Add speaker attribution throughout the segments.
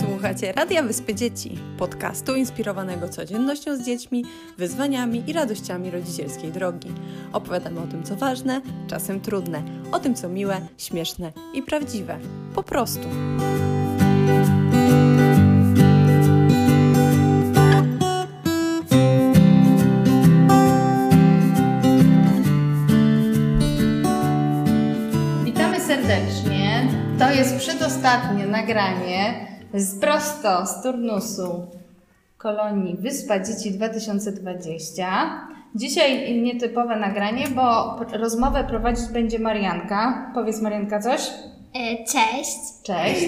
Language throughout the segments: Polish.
Speaker 1: Słuchacie Radia Wyspy Dzieci, podcastu inspirowanego codziennością z dziećmi, wyzwaniami i radościami rodzicielskiej drogi. Opowiadamy o tym, co ważne, czasem trudne, o tym, co miłe, śmieszne i prawdziwe. Po prostu.
Speaker 2: Witamy serdecznie. To jest przedostatnie nagranie z prosto z turnusu kolonii Wyspa Dzieci 2020. Dzisiaj nietypowe nagranie, bo p- rozmowę prowadzić będzie Marianka. Powiedz Marianka coś.
Speaker 3: E, Cześć,
Speaker 2: Cześć.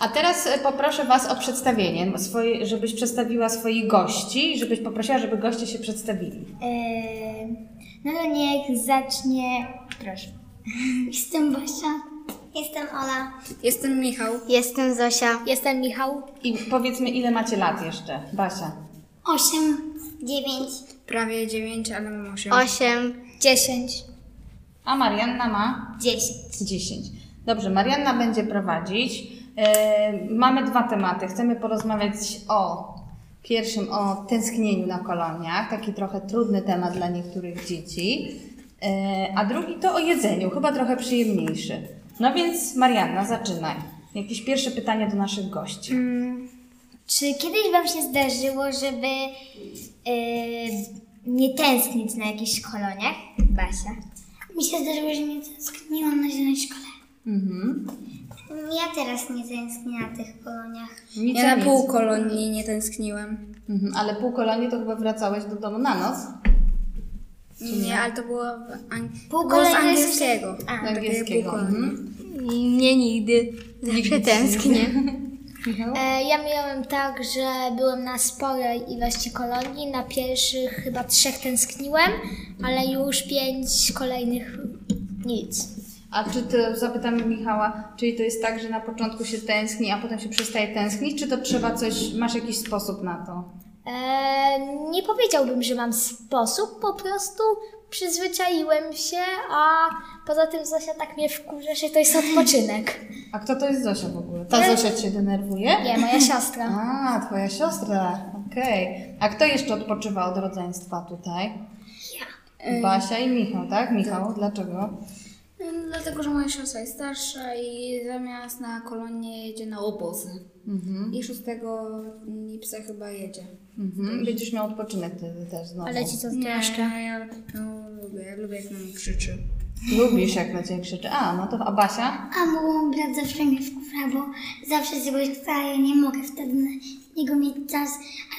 Speaker 2: A teraz e, poproszę Was o przedstawienie, swoje, żebyś przedstawiła swoich gości i żebyś poprosiła, żeby goście się przedstawili.
Speaker 3: E, no to niech zacznie, proszę. Jestem Basia. Jestem Ola.
Speaker 4: Jestem Michał.
Speaker 3: Jestem Zosia. Jestem Michał.
Speaker 2: I powiedzmy, ile macie lat jeszcze, Basia?
Speaker 3: Osiem. Dziewięć.
Speaker 4: Prawie 9, ale mam 8.
Speaker 3: Osiem. Dziesięć.
Speaker 2: A Marianna ma?
Speaker 3: Dziesięć.
Speaker 2: 10. Dobrze, Marianna będzie prowadzić. E, mamy dwa tematy. Chcemy porozmawiać o pierwszym, o tęsknieniu na koloniach. Taki trochę trudny temat dla niektórych dzieci. E, a drugi to o jedzeniu, chyba trochę przyjemniejszy. No więc Marianna, zaczynaj. Jakieś pierwsze pytanie do naszych gości.
Speaker 3: Czy kiedyś Wam się zdarzyło, żeby e, nie tęsknić na jakichś koloniach? Basia. Mi się zdarzyło, że nie tęskniłam na zielonej szkole.
Speaker 2: Mhm.
Speaker 3: Ja teraz nie tęsknię na tych koloniach.
Speaker 2: Nic
Speaker 4: Ja
Speaker 2: o
Speaker 4: na
Speaker 2: nic.
Speaker 4: pół kolonii nie tęskniłem.
Speaker 2: Mhm. Ale pół kolonii to chyba wracałeś do domu na noc?
Speaker 4: Nie, ale to było, w ang...
Speaker 3: Pół
Speaker 4: to było z
Speaker 3: kolonii to jest-
Speaker 4: angielskiego.
Speaker 3: A,
Speaker 4: Takie
Speaker 2: angielskiego,
Speaker 4: pół kolonii.
Speaker 2: mhm.
Speaker 4: Nie nigdy. Zawsze tęsknię.
Speaker 3: E, Ja miałem tak, że byłem na sporej ilości kolonii. Na pierwszych chyba trzech tęskniłem, ale już pięć kolejnych nic.
Speaker 2: A czy to, zapytamy Michała, czyli to jest tak, że na początku się tęskni, a potem się przestaje tęsknić, czy to trzeba coś, masz jakiś sposób na to?
Speaker 3: E, Nie powiedziałbym, że mam sposób, po prostu przyzwyczaiłem się, a poza tym Zosia tak mnie wkurza, że to jest odpoczynek.
Speaker 2: A kto to jest Zosia w ogóle? Ta Zosia cię denerwuje?
Speaker 3: Nie, moja siostra.
Speaker 2: A, twoja siostra, okej. A kto jeszcze odpoczywa od rodzeństwa tutaj? Ja. Basia i Michał, tak? Michał, dlaczego?
Speaker 4: Dlatego, że moja siostra jest starsza i zamiast na kolonię jedzie na obozy.
Speaker 2: Mhm.
Speaker 4: I 6 lipca chyba jedzie.
Speaker 2: mhm. Będziesz miał odpoczynek wtedy też znowu.
Speaker 3: Ale ci co
Speaker 4: Nie, ja no, lubię, ja lubię jak na mnie krzyczy.
Speaker 2: Lubisz, jak na ciebie krzyczy. A, no to, a Basia?
Speaker 3: A mój brat zawsze mnie wkurza, bo zawsze z jego chce, ja nie mogę wtedy na niego mieć czas,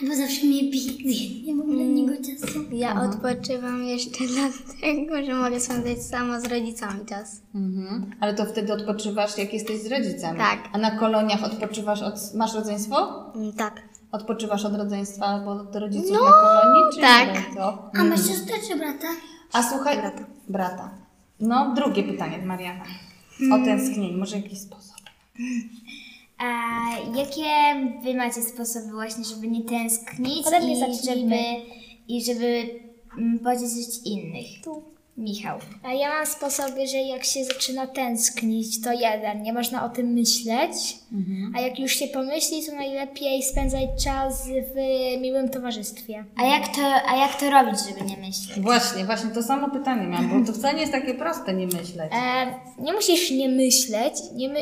Speaker 3: albo zawsze mnie bije, gdy nie mam dla niego czasu.
Speaker 5: Ja odpoczywam jeszcze dlatego, że mogę spędzać samo z rodzicami czas.
Speaker 2: Mhm. Ale to wtedy odpoczywasz, jak jesteś z rodzicami.
Speaker 5: Tak.
Speaker 2: A na koloniach odpoczywasz od... Masz rodzeństwo?
Speaker 5: Mm, Tak.
Speaker 2: Odpoczywasz od rodzeństwa albo od rodziców na kolonii? Czy
Speaker 5: tak.
Speaker 2: Nie bardzo?
Speaker 3: A masz siostrę czy brata?
Speaker 2: A słuchaj, brata. No, drugie pytanie od Mariana. O tęsknieniu, może jakiś sposób.
Speaker 5: A jakie wy macie sposoby właśnie, żeby nie tęsknić
Speaker 3: Ode mnie zacznijmy.
Speaker 5: i żeby mm, pocieszyć innych? Michał.
Speaker 3: A ja mam sposoby, że jak się zaczyna tęsknić, to jeden, nie można o tym myśleć, a jak już się pomyśli, to najlepiej spędzać czas w miłym towarzystwie.
Speaker 5: A jak to, a jak to robić, żeby nie myśleć?
Speaker 2: Właśnie, właśnie to samo pytanie miałam, bo to wcale nie jest takie proste nie myśleć.
Speaker 3: E, nie musisz nie myśleć, nie my...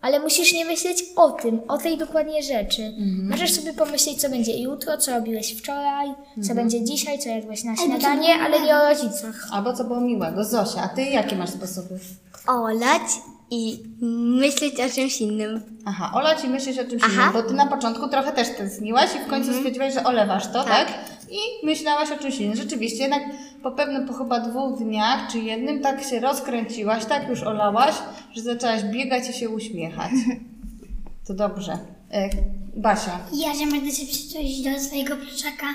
Speaker 3: ale musisz nie myśleć o tym, o tej dokładnie rzeczy.
Speaker 6: Mhm.
Speaker 3: Możesz sobie pomyśleć, co będzie jutro, co robiłeś wczoraj,
Speaker 6: Mhm.
Speaker 3: co będzie dzisiaj, co jadłeś na śniadanie, ale nie o rodzicach.
Speaker 2: Albo co było miłego. Zosia, a ty jakie masz sposoby?
Speaker 5: Olać i myśleć o czymś innym.
Speaker 2: Aha, olać i myśleć o czymś
Speaker 5: Aha.
Speaker 2: innym, bo ty na początku trochę też tęskniłaś i w końcu stwierdziłaś, że olewasz to, Mhm. tak? I myślałaś o czymś innym. Rzeczywiście, jednak po pewnym, po chyba dwóch dniach czy jednym tak się rozkręciłaś, tak już olałaś, że zaczęłaś biegać i się uśmiechać. To dobrze. E, Basia,
Speaker 6: Ja, że można się przytulić do swojego pluszaka,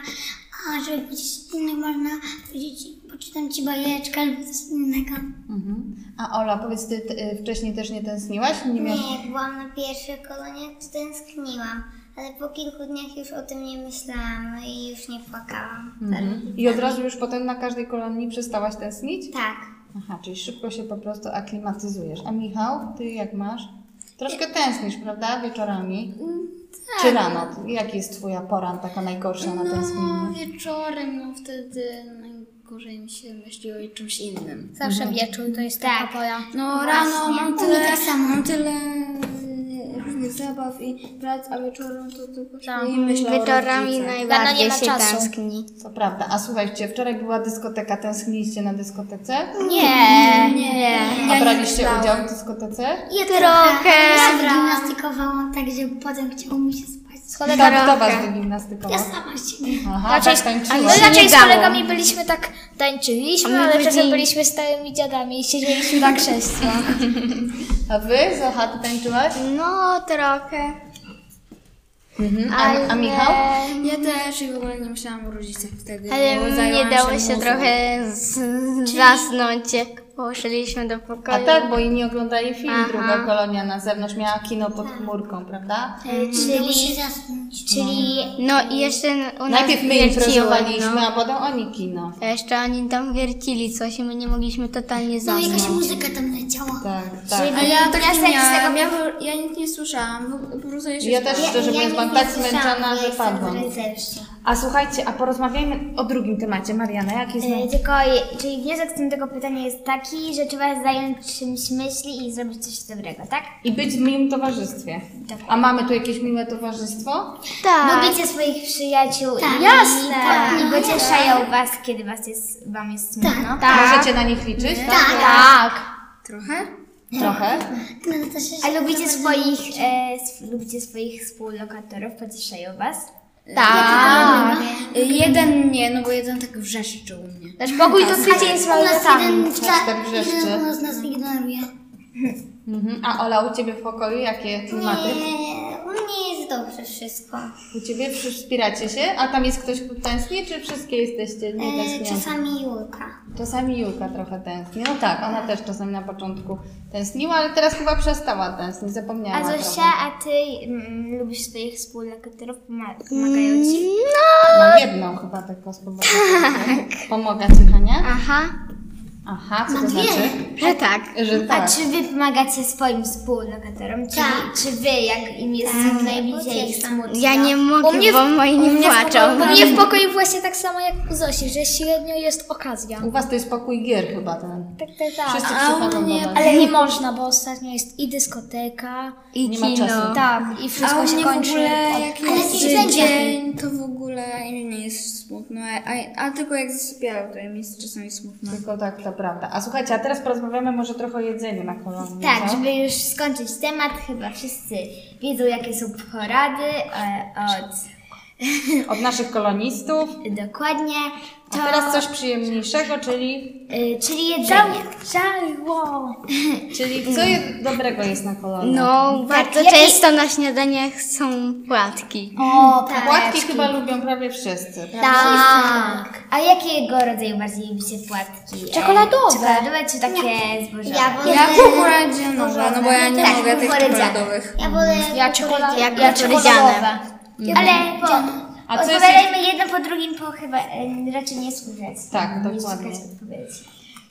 Speaker 6: a żeby pocieszyć innych można powiedzieć, poczytam ci bajeczkę albo coś innego.
Speaker 2: mhm. a Ola, powiedz, ty, ty e, wcześniej też nie tęskniłaś? Nie, miałaś...
Speaker 6: jak byłam na pierwszej kolonie, to tęskniłam, ale po kilku dniach już o tym nie myślałam no i już nie płakałam.
Speaker 2: Mhm. I od razu już potem na każdej kolonii przestałaś tęsknić?
Speaker 6: Tak.
Speaker 2: Aha, czyli szybko się po prostu
Speaker 5: Mm,
Speaker 2: aklimatyzujesz. A Michał, ty jak masz? Troszkę tęsknisz, prawda? Wieczorami.
Speaker 5: tak.
Speaker 2: Czy rano? Jak jest Twoja pora taka najgorsza na
Speaker 4: No,
Speaker 2: tęsknienie?
Speaker 4: wieczorem, no wtedy najgorzej mi się myśli o czymś innym.
Speaker 3: Zawsze wieczór to jest taka pora.
Speaker 4: No rano mam
Speaker 6: U mnie
Speaker 4: tyle,
Speaker 6: tak samo.
Speaker 4: mam tyle y, różnych zabaw i prac, a wieczorem to tylko się
Speaker 2: No
Speaker 3: Tak.
Speaker 4: i myślę o
Speaker 5: Wieczorami
Speaker 4: rodzicach.
Speaker 3: Rano nie
Speaker 5: najbardziej
Speaker 3: ma
Speaker 5: się
Speaker 3: czasu.
Speaker 5: tęskni.
Speaker 2: Co prawda. A słuchajcie, wczoraj była dyskoteka, tęskniliście na dyskotece?
Speaker 5: Nie, nie.
Speaker 2: A braliście udział w dyskotece?
Speaker 5: Ja trochę.
Speaker 6: Ja gimnastykowałam tak, że potem chciało mi się spać.
Speaker 3: Z
Speaker 2: Kto,
Speaker 3: kolegami.
Speaker 2: kto was
Speaker 6: Ja
Speaker 2: wygimnastykował?
Speaker 6: sama siebie.
Speaker 2: Aha,
Speaker 3: Raczej,
Speaker 5: Znaczy,
Speaker 2: tak
Speaker 3: z-
Speaker 2: tańczyła.
Speaker 3: my No, raczej z
Speaker 5: Śmigało.
Speaker 3: kolegami byliśmy tak, tańczyliśmy, ale czasem
Speaker 5: byli-
Speaker 3: byliśmy starymi dziadami i siedzieliśmy na krzesłach.
Speaker 2: A wy, Zocha, ty tańczyłaś?
Speaker 5: No, trochę.
Speaker 2: Mhm. A, a Michał?
Speaker 4: Ja też i w ogóle nie myślałam o rodzicach wtedy. bo
Speaker 5: Ale
Speaker 4: zajęłam
Speaker 5: nie dało się
Speaker 4: muzyką.
Speaker 5: trochę z- zasnąć, jak poszliśmy do
Speaker 2: A
Speaker 5: pokoju.
Speaker 2: tak, bo inni oglądali film Druga Kolonia na zewnątrz, miała kino pod chmurką, prawda?
Speaker 6: Chciało się zasnąć.
Speaker 5: Czyli, no i jeszcze u nas
Speaker 2: Najpierw my
Speaker 5: wierciło,
Speaker 2: imprezowaliśmy,
Speaker 5: no.
Speaker 2: a potem oni kino.
Speaker 5: A Jeszcze oni tam wiercili coś i my nie mogliśmy totalnie
Speaker 6: No
Speaker 5: zasnąć.
Speaker 6: jakaś muzyka tam leciała.
Speaker 2: Tak, tak.
Speaker 4: A ja tak
Speaker 5: Ja
Speaker 4: nie
Speaker 5: tak z
Speaker 4: miałam,
Speaker 5: tego-
Speaker 4: ja, w- ja nic nie słyszałam, w- po prostu ja się
Speaker 2: Ja też szczerze mówiąc byłam tak zmęczona, że padłam.
Speaker 6: Zresztą.
Speaker 2: A słuchajcie, a porozmawiajmy o drugim temacie. Mariana, jaki jest...
Speaker 3: E-
Speaker 5: Y, Tylko, je- czyli wniosek z tym tego pytania jest taki, że trzeba zająć czymś myśli i zrobić coś dobrego, tak?
Speaker 2: I być w miłym towarzystwie. A mamy tu jakieś miłe towarzystwo?
Speaker 5: Tak. Lubicie swoich przyjaciół
Speaker 6: Tak.
Speaker 5: i jasne. i pocieszają was, kiedy was jest, wam jest smutno.
Speaker 6: Tak.
Speaker 2: Możecie na nich liczyć?
Speaker 5: tak. tak.
Speaker 4: trochę.
Speaker 2: Trochę?
Speaker 6: No, to się
Speaker 5: A lubicie swoich, e,
Speaker 6: Tak.
Speaker 5: sw- lubicie swoich współlokatorów, pocieszają was?
Speaker 4: Tak. Jeden nie, no bo jeden tak wrzeszczy u mnie.
Speaker 5: Nasz pokój to tydzień z
Speaker 6: U nas jeden
Speaker 2: tak
Speaker 6: wcale,
Speaker 2: wrzeszczy.
Speaker 6: jeden z nas ignoruje.
Speaker 2: Mhm. A Ola, u Ciebie w pokoju jakie klimaty?
Speaker 6: Nie, u mnie jest dobrze wszystko.
Speaker 2: U Ciebie przy- wspieracie się? A tam jest ktoś, kto tęskni, czy wszystkie jesteście nie
Speaker 6: E,
Speaker 2: tęskniące?
Speaker 6: czasami Julka.
Speaker 2: Czasami Julka trochę tęskni. No tak, ona też czasami na początku tęskniła, ale teraz chyba przestała tęsknić, zapomniała
Speaker 5: A Zosia,
Speaker 2: trochę.
Speaker 5: a ty mm, lubisz swoich współlokatorów,
Speaker 6: Mm.
Speaker 5: Pomaga- pomagają ci?
Speaker 2: Mam jedną chyba tylko z powodu.
Speaker 5: Tak.
Speaker 2: Pomaga Ci, Hania?
Speaker 5: Aha,
Speaker 2: Aha, co
Speaker 6: Mam
Speaker 2: to
Speaker 6: dwie.
Speaker 2: znaczy?
Speaker 5: że tak.
Speaker 2: Że
Speaker 5: A
Speaker 2: tak.
Speaker 5: czy wy pomagacie swoim współlokatorom? Czy,
Speaker 6: Tak.
Speaker 5: czy wy, jak im jest najbliżej ich smutno?
Speaker 3: tak. U
Speaker 5: mogę,
Speaker 3: mnie w- bo
Speaker 5: moi
Speaker 3: U mnie w pokoju- U mnie w pokoju właśnie tak samo jak u Zosi, że średnio jest okazja.
Speaker 2: U Was to jest pokój gier chyba ten.
Speaker 3: Tak, tak, tak.
Speaker 2: Wszyscy przychodzą do Was.
Speaker 3: Ale nie można, bo ostatnio jest i dyskoteka,
Speaker 5: I
Speaker 2: Nie ma czasu.
Speaker 3: tak, i
Speaker 4: A
Speaker 3: wszystko
Speaker 4: u
Speaker 3: się
Speaker 4: mnie w
Speaker 3: kończy.
Speaker 4: ogóle
Speaker 3: od-
Speaker 4: jak
Speaker 6: Ale
Speaker 4: jest
Speaker 6: jesteś sędzią.
Speaker 4: dzień, to w ogóle im nie jest smutno, a, a, a tylko jak zasypiają, to im jest czasami smutno.
Speaker 2: Tylko tak, to prawda. A słuchajcie, a teraz porozmawiamy może trochę o jedzeniu na kolonii.
Speaker 5: Tak,
Speaker 6: No.
Speaker 2: co?
Speaker 5: żeby już skończyć temat, chyba wszyscy wiedzą, jakie są porady e, od...
Speaker 2: Od naszych kolonistów.
Speaker 5: Dokładnie.
Speaker 2: A teraz coś przyjemniejszego, czyli,
Speaker 5: Y, czyli jedzenie.
Speaker 2: czyli co je, dobrego jest na kolonii?
Speaker 7: No, bardzo
Speaker 5: jakie-
Speaker 7: często na śniadaniach są płatki.
Speaker 5: O,
Speaker 2: Płatki chyba lubią prawie wszyscy. prawda?
Speaker 5: Tak. A jakiego rodzaju bardziej lubicie płatki? E,
Speaker 3: Czekoladowe.
Speaker 5: Czekoladowe czy takie zbożowe?
Speaker 6: Ja wolę,
Speaker 4: Ja kukurydzę nowe, no bo ja nie
Speaker 5: Tak,
Speaker 4: mogę tych
Speaker 5: kukurydza.
Speaker 4: czekoladowych.
Speaker 6: ja wolę
Speaker 3: Mm. Ja czekolada.
Speaker 7: Jak
Speaker 5: Ja
Speaker 7: czekoladowe.
Speaker 5: czekoladowe. Ale po,
Speaker 2: A co jest-
Speaker 5: odpowiadajmy jedno po drugim, bo chyba e, raczej nie słuchać.
Speaker 2: Tak,
Speaker 5: Nie
Speaker 2: dokładnie.
Speaker 5: szukać odpowiedzi.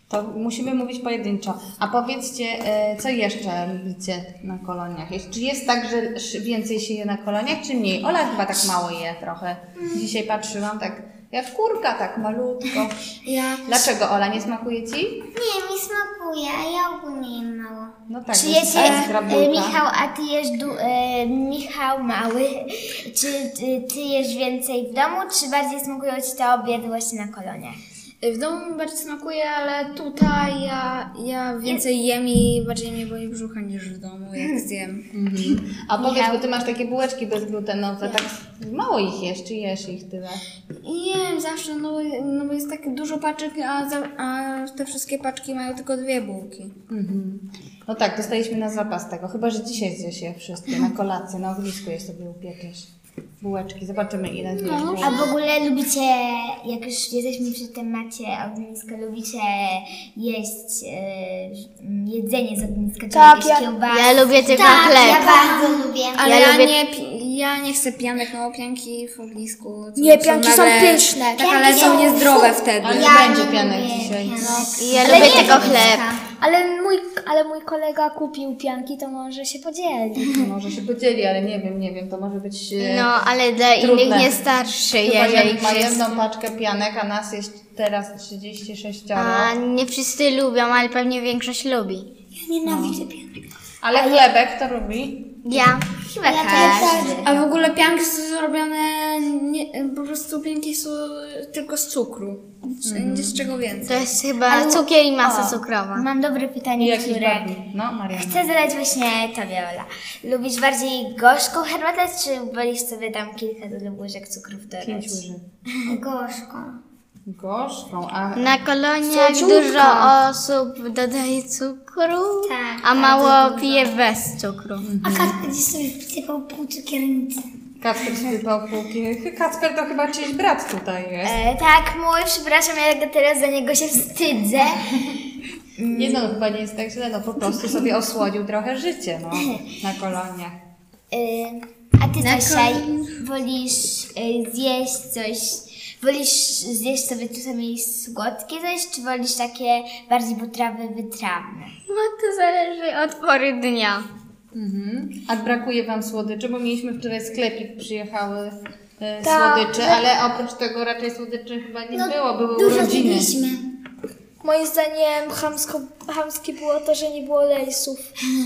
Speaker 2: To musimy mówić pojedynczo. A powiedzcie, e, co jeszcze lubicie na koloniach? Jest- Czy jest tak, że sz- więcej się je na koloniach, czy mniej? Ola chyba tak mało je trochę.
Speaker 5: Mm.
Speaker 2: Dzisiaj patrzyłam tak, jak kurka, tak malutko.
Speaker 4: Ja
Speaker 2: Dlaczego Ola, nie smakuje Ci?
Speaker 6: Nie, mi smakuje, a ja ogólnie jem mało.
Speaker 2: No tak,
Speaker 5: Czy
Speaker 2: jest
Speaker 5: jecie,
Speaker 2: taka
Speaker 5: e,
Speaker 2: skrabulka.
Speaker 5: Michał, a ty jesz, du- e, Michał mały, czy ty, ty jesz więcej w domu, czy bardziej smakują ci te obiady właśnie na koloniach?
Speaker 4: w domu mi bardziej smakuje, ale tutaj ja, ja więcej jem i bardziej mnie boli brzucha niż w domu, jak
Speaker 3: Hmm.
Speaker 4: zjem.
Speaker 2: Mhm. A powiedz, bo Ty masz takie bułeczki bezglutenowe, tak mało ich jesz, czy jesz ich tyle?
Speaker 4: I jem zawsze, no, bo- no bo jest tak dużo paczek, a, za, a te wszystkie paczki mają tylko dwie bułki.
Speaker 2: No tak, dostaliśmy na zapas tego, chyba, że dzisiaj zjesz je wszystkie na kolację, na ognisku je sobie upiekiesz. Bułeczki, zobaczymy ile zjesz bułeczki.
Speaker 5: A w ogóle lubicie, jak już jesteśmy przy temacie ogniska, lubicie jeść e, m, jedzenie z ogniska, czyli
Speaker 3: Tak,
Speaker 5: jakieś
Speaker 3: ja-
Speaker 5: kiełbasy?
Speaker 7: Ja lubię tylko
Speaker 6: Tak,
Speaker 7: chleb.
Speaker 6: ja bardzo lubię.
Speaker 4: Ale ja,
Speaker 7: lubię-
Speaker 4: nie, pi- ja nie chcę pianek, no bo pianki w ognisku. co
Speaker 3: Nie, pianki są
Speaker 4: nagle-
Speaker 3: pyszne.
Speaker 4: Tak, ale są niezdrowe wtedy.
Speaker 2: Ale
Speaker 6: Ja
Speaker 2: będzie
Speaker 6: nie
Speaker 2: pianek
Speaker 6: lubię
Speaker 2: dzisiaj.
Speaker 6: pianek.
Speaker 7: Ja lubię tylko chleb.
Speaker 3: Ale mój, ale mój kolega kupił pianki, to może się podzieli.
Speaker 2: Może się podzieli, ale nie wiem, nie wiem, to może być... e,
Speaker 7: No, ale dla
Speaker 2: Trudne.
Speaker 7: innych nie starszy,
Speaker 2: Chyba
Speaker 7: jeżeli
Speaker 2: jak ma
Speaker 7: wszyscy...
Speaker 2: jedną paczkę pianek, a nas jest teraz 36
Speaker 7: A nie wszyscy lubią, ale pewnie większość lubi.
Speaker 6: Nienawidzę pianek.
Speaker 2: Ale chlebek to lubi.
Speaker 7: Ja chyba
Speaker 5: tak.
Speaker 7: każdy.
Speaker 4: A w ogóle pianki są zrobione, nie, po prostu pianki są tylko z cukru. Nie z czego więcej.
Speaker 7: To jest chyba cukier i masa cukrowa.
Speaker 5: Mam dobre
Speaker 2: I
Speaker 5: pytanie,
Speaker 2: jakiś
Speaker 5: które
Speaker 2: bardziej. No, Marianna.
Speaker 5: chcę zadać właśnie Tobie, Ola. Lubisz bardziej gorzką herbatę, czy wolisz sobie tam kilka łyżek cukrów dodać?
Speaker 2: Pięć łyżek.
Speaker 6: Gorzką.
Speaker 2: Gorzką, a
Speaker 7: Na koloniach dużo osób dodaje cukru,
Speaker 5: Tak,
Speaker 7: a mało pije bez cukru.
Speaker 6: A Kacper gdzieś sobie wsypał pół cukiernicy.
Speaker 2: Kacper spytał półki. Kacper to chyba czyjś brat tutaj jest.
Speaker 5: E, tak, mój, przepraszam, ja teraz za niego się wstydzę.
Speaker 2: Nie no, chyba nie jest tak źle, no po prostu sobie osłodził trochę życie, no, na koloniach.
Speaker 5: E, a ty dzisiaj wolisz e, zjeść coś, wolisz zjeść sobie czasami słodkie coś, czy wolisz takie bardziej potrawy wytrawne?
Speaker 7: No to zależy od pory dnia.
Speaker 2: Mhm. A brakuje Wam słodyczy, bo mieliśmy wczoraj sklepik, przyjechały e, słodycze, ale oprócz tego raczej słodyczy chyba nie było, były
Speaker 6: Dużo
Speaker 2: urodziny.
Speaker 6: zjedliśmy.
Speaker 3: Moim zdaniem chamsko, chamskie było to, że nie było lejsów.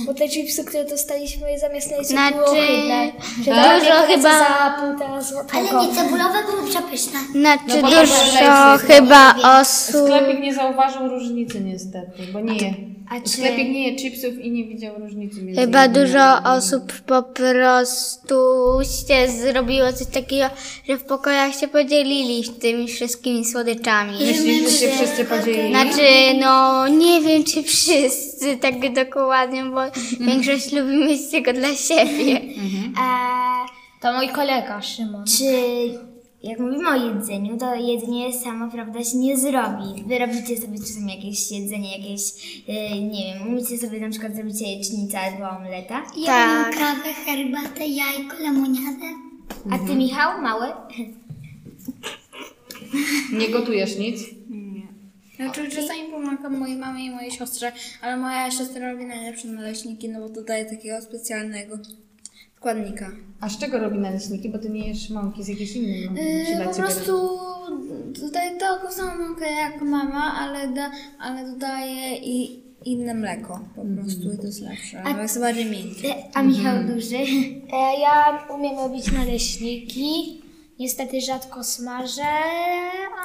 Speaker 3: Bo te chipsy, które dostaliśmy zamiast lejsów
Speaker 7: Znaczy,
Speaker 3: było chydne.
Speaker 2: tak?
Speaker 3: Że dawali
Speaker 7: dużo
Speaker 3: koledzy
Speaker 7: chyba-
Speaker 3: Za półtora złotego.
Speaker 6: Ale nie, cebulowe były przepyszne.
Speaker 7: Znaczy
Speaker 2: No bo
Speaker 7: dużo
Speaker 2: lejsy są
Speaker 7: chyba osób...
Speaker 2: Sklepik nie zauważył różnicy niestety, bo nie je.
Speaker 7: a czy-
Speaker 2: Sklepik nie je chipsów i nie widział różnicy między
Speaker 7: Chyba
Speaker 2: jednym
Speaker 7: dużo
Speaker 2: a drugim.
Speaker 7: osób po prostu się zrobiło coś takiego, że w pokojach się podzielili tymi wszystkimi słodyczami.
Speaker 2: Myślisz, że się wszyscy podzielili?
Speaker 7: Znaczy, no nie wiem czy wszyscy tak dokładnie, bo większość lubi mieć tylko dla siebie.
Speaker 5: A
Speaker 3: To mój kolega Szymon.
Speaker 5: czy jak mówimy o jedzeniu, to jedzenie samo, prawda, się nie zrobi. Wy robicie sobie czasem jakieś jedzenie, jakieś, e, nie wiem, umiecie sobie na przykład zrobić jajecznicę albo omleta.
Speaker 6: Ja
Speaker 7: Tak.
Speaker 6: mam kawę, herbatę, jajko, lemoniadę.
Speaker 5: A ty, Michał, mały?
Speaker 2: Nie gotujesz nic?
Speaker 4: Znaczy czasami pomagam mojej mamie i mojej siostrze, ale moja siostra robi najlepsze naleśniki, no bo dodaje takiego specjalnego składnika.
Speaker 2: A z czego robi naleśniki? Bo ty nie jesz mąki z jakiejś innej mąki. czy
Speaker 4: Yy,
Speaker 2: dla
Speaker 4: po
Speaker 2: ciebie robi?
Speaker 4: prostu dodaje taką samą mąkę jak mama, ale, da, ale dodaje i inne mleko po
Speaker 2: Mhm.
Speaker 4: prostu i to jest lepsze. A... Jest bardziej miękkie.
Speaker 5: E, A Michał
Speaker 3: Mhm.
Speaker 5: duży?
Speaker 3: E, ja umiem robić naleśniki. Niestety rzadko smażę,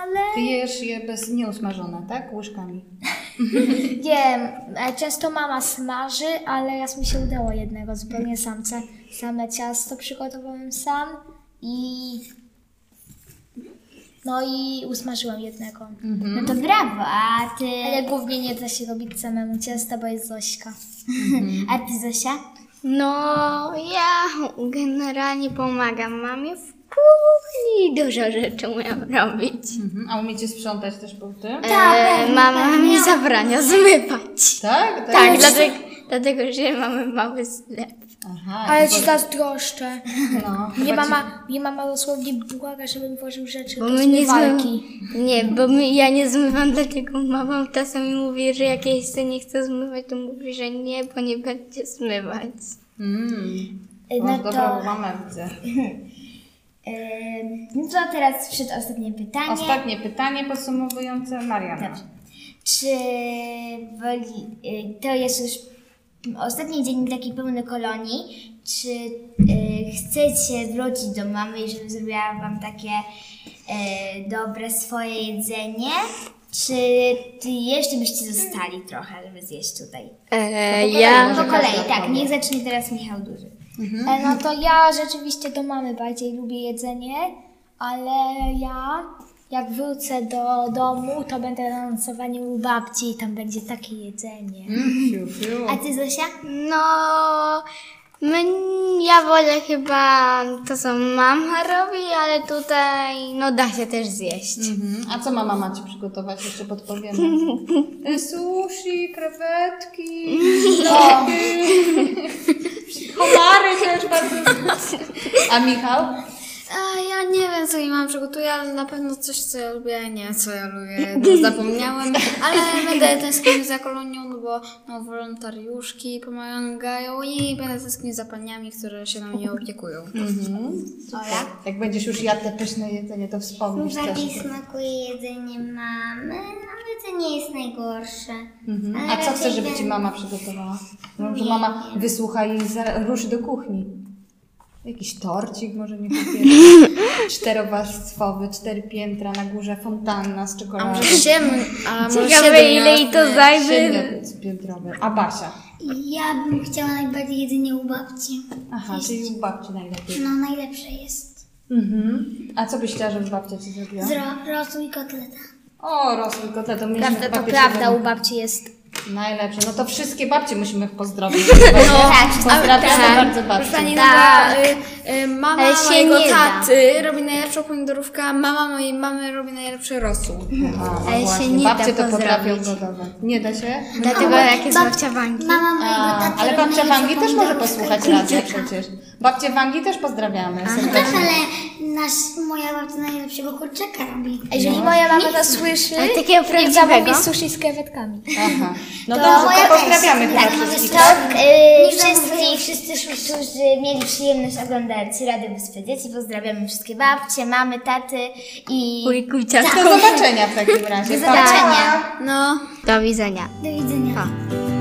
Speaker 3: ale
Speaker 2: Ty jesz je bez nieusmażone, tak? Łyżkami.
Speaker 3: wiem. E, Często mama smaży, ale raz mi się udało jednego zupełnie samce. Same ciasto przygotowałem sam i. No i usmażyłam jednego.
Speaker 5: No to brawo, a ty,
Speaker 3: Mhm. Ale głównie nie da się robić samemu ciasta, bo jest Zośka. Mhm.
Speaker 5: a ty Zosia?
Speaker 7: No, ja generalnie pomagam mamie w kuchni i dużo rzeczy umiem robić.
Speaker 2: Mhm. A umiecie sprzątać też po tym?
Speaker 7: E, mama mi zabrania zmywać.
Speaker 2: Tak?
Speaker 7: Tak, dlatego, dlatego, że mamy mały sklep.
Speaker 2: Aha,
Speaker 3: Ale
Speaker 2: to-
Speaker 3: ci zazdroszczę.
Speaker 2: No,
Speaker 3: Mnie
Speaker 2: chyba ci-
Speaker 3: mama, mnie mama dosłownie błaga, żebym włożył rzeczy
Speaker 7: Bo
Speaker 3: do
Speaker 7: my nie
Speaker 3: zmywarki.
Speaker 7: zmywam. Nie, bo my, ja nie zmywam, dlatego mama czasami mówi, że jak ja jeszcze nie chcę zmywać, to mówi, że nie, bo nie będzie zmywać.
Speaker 2: Mm.
Speaker 5: E,
Speaker 2: Masz
Speaker 5: No to,
Speaker 2: dobrą mamę, widzę.
Speaker 3: e,
Speaker 5: em, no to teraz przedostatnie pytanie.
Speaker 2: Ostatnie pytanie podsumowujące Mariana.
Speaker 5: Czy woli, e, to jest już ostatni dzień taki pełny kolonii, czy e, chcecie wrócić do mamy i żeby zrobiła wam takie e, dobre swoje jedzenie, czy ty jeszcze byście zostali trochę, żeby zjeść tutaj?
Speaker 4: No,
Speaker 7: E, ja,
Speaker 3: no
Speaker 5: Po kolei, tak, niech zacznie teraz Michał Duży.
Speaker 2: Mhm.
Speaker 3: E, No to ja rzeczywiście do mamy bardziej lubię jedzenie, ale ja jak wrócę do domu, to będę na nocowaniu u babci i tam będzie takie jedzenie.
Speaker 2: Fiu, fiu.
Speaker 5: A ty Zosia?
Speaker 7: no, my, ja wolę chyba to, co mama robi, ale tutaj, no, da się też zjeść.
Speaker 2: Mhm. A co ma mama ci przygotować? Jeszcze podpowiemy. E, Sushi, krewetki, lody. Komary też bardzo. A Michał?
Speaker 4: A ja nie wiem, co mi mam przygotuję, ale na pewno coś, co ja lubię, a nie, co ja lubię, no, zapomniałem, ale będę tęsknił za kolonią, no bo no, wolontariuszki pomagają i będę tęsknił za paniami, które się na mnie opiekują.
Speaker 2: Jak będziesz już jadł te pyszne jedzenie, to wspomnisz też. tak.
Speaker 3: Bardziej smakuje jedzenie mamy, ale to nie jest najgorsze. No,
Speaker 2: Mhm. A co chcesz, żeby ci mama przygotowała? No, że mama wysłucha i za- ruszy do kuchni. Jakiś torcik może nie kupię. Czterowarstwowy, cztery piętra, na górze fontanna z czekoladą. A może
Speaker 4: Siemy, a może
Speaker 7: Ciekawe
Speaker 4: siedem
Speaker 7: ile i
Speaker 4: jasne.
Speaker 7: to zajmie.
Speaker 2: Siedmiopiętrowy. A Basia.
Speaker 3: Ja bym chciała najbardziej jedzenie u babci.
Speaker 2: Aha, czyli u babci najlepiej.
Speaker 3: No najlepsze jest.
Speaker 2: Mhm. A co byś chciała, żeby babcia ci zrobiła?
Speaker 3: Zro- rosół i kotleta.
Speaker 2: O, rosół kotleta.
Speaker 8: Prawda, to prawda, u babci jest.
Speaker 2: Najlepsze. No to wszystkie babcie musimy pozdrowić. No, Pozdrawiamy bardzo babcię.
Speaker 4: Pani tak. y, y, mama
Speaker 7: Ale się
Speaker 4: mojego
Speaker 7: nie da.
Speaker 4: taty robi najlepszą pomidorówkę, mama mojej mamy robi najlepszy rosół.
Speaker 2: Ale
Speaker 7: się nie
Speaker 2: babcie
Speaker 7: da No
Speaker 2: to potrafią
Speaker 7: pozdrowić.
Speaker 2: gotować. Nie da się?
Speaker 7: Dlatego jak jest babcia w Anglii.
Speaker 3: Mama mojego
Speaker 2: A,
Speaker 3: taty
Speaker 2: ale
Speaker 3: robi
Speaker 2: babcia Wangi też
Speaker 3: najlepszą
Speaker 2: może
Speaker 3: pomidorówkę
Speaker 2: posłuchać
Speaker 3: i
Speaker 2: radia
Speaker 3: kurczaka.
Speaker 2: przecież. Babcie Wangi też pozdrawiamy.
Speaker 3: Też, ale nasz, moja babcia najlepszego kurczaka robi.
Speaker 8: Jeżeli moja mama to słyszy,
Speaker 7: Ale takiego
Speaker 8: niech zamówi
Speaker 7: prawdziwego.
Speaker 8: sushi z krewetkami.
Speaker 2: Aha. No dobrze, to pozdrawiamy chyba
Speaker 7: Tak,
Speaker 2: wszystkich.
Speaker 5: To y, wszystkich, wszyscy, którzy mieli przyjemność oglądać Radę Bez Dzieci, pozdrawiamy wszystkie babcie, mamy, taty i...
Speaker 7: Wujku, ciotku.
Speaker 2: Do zobaczenia w takim razie.
Speaker 5: Do zobaczenia.
Speaker 7: Do widzenia.
Speaker 3: Do widzenia.
Speaker 7: Pa.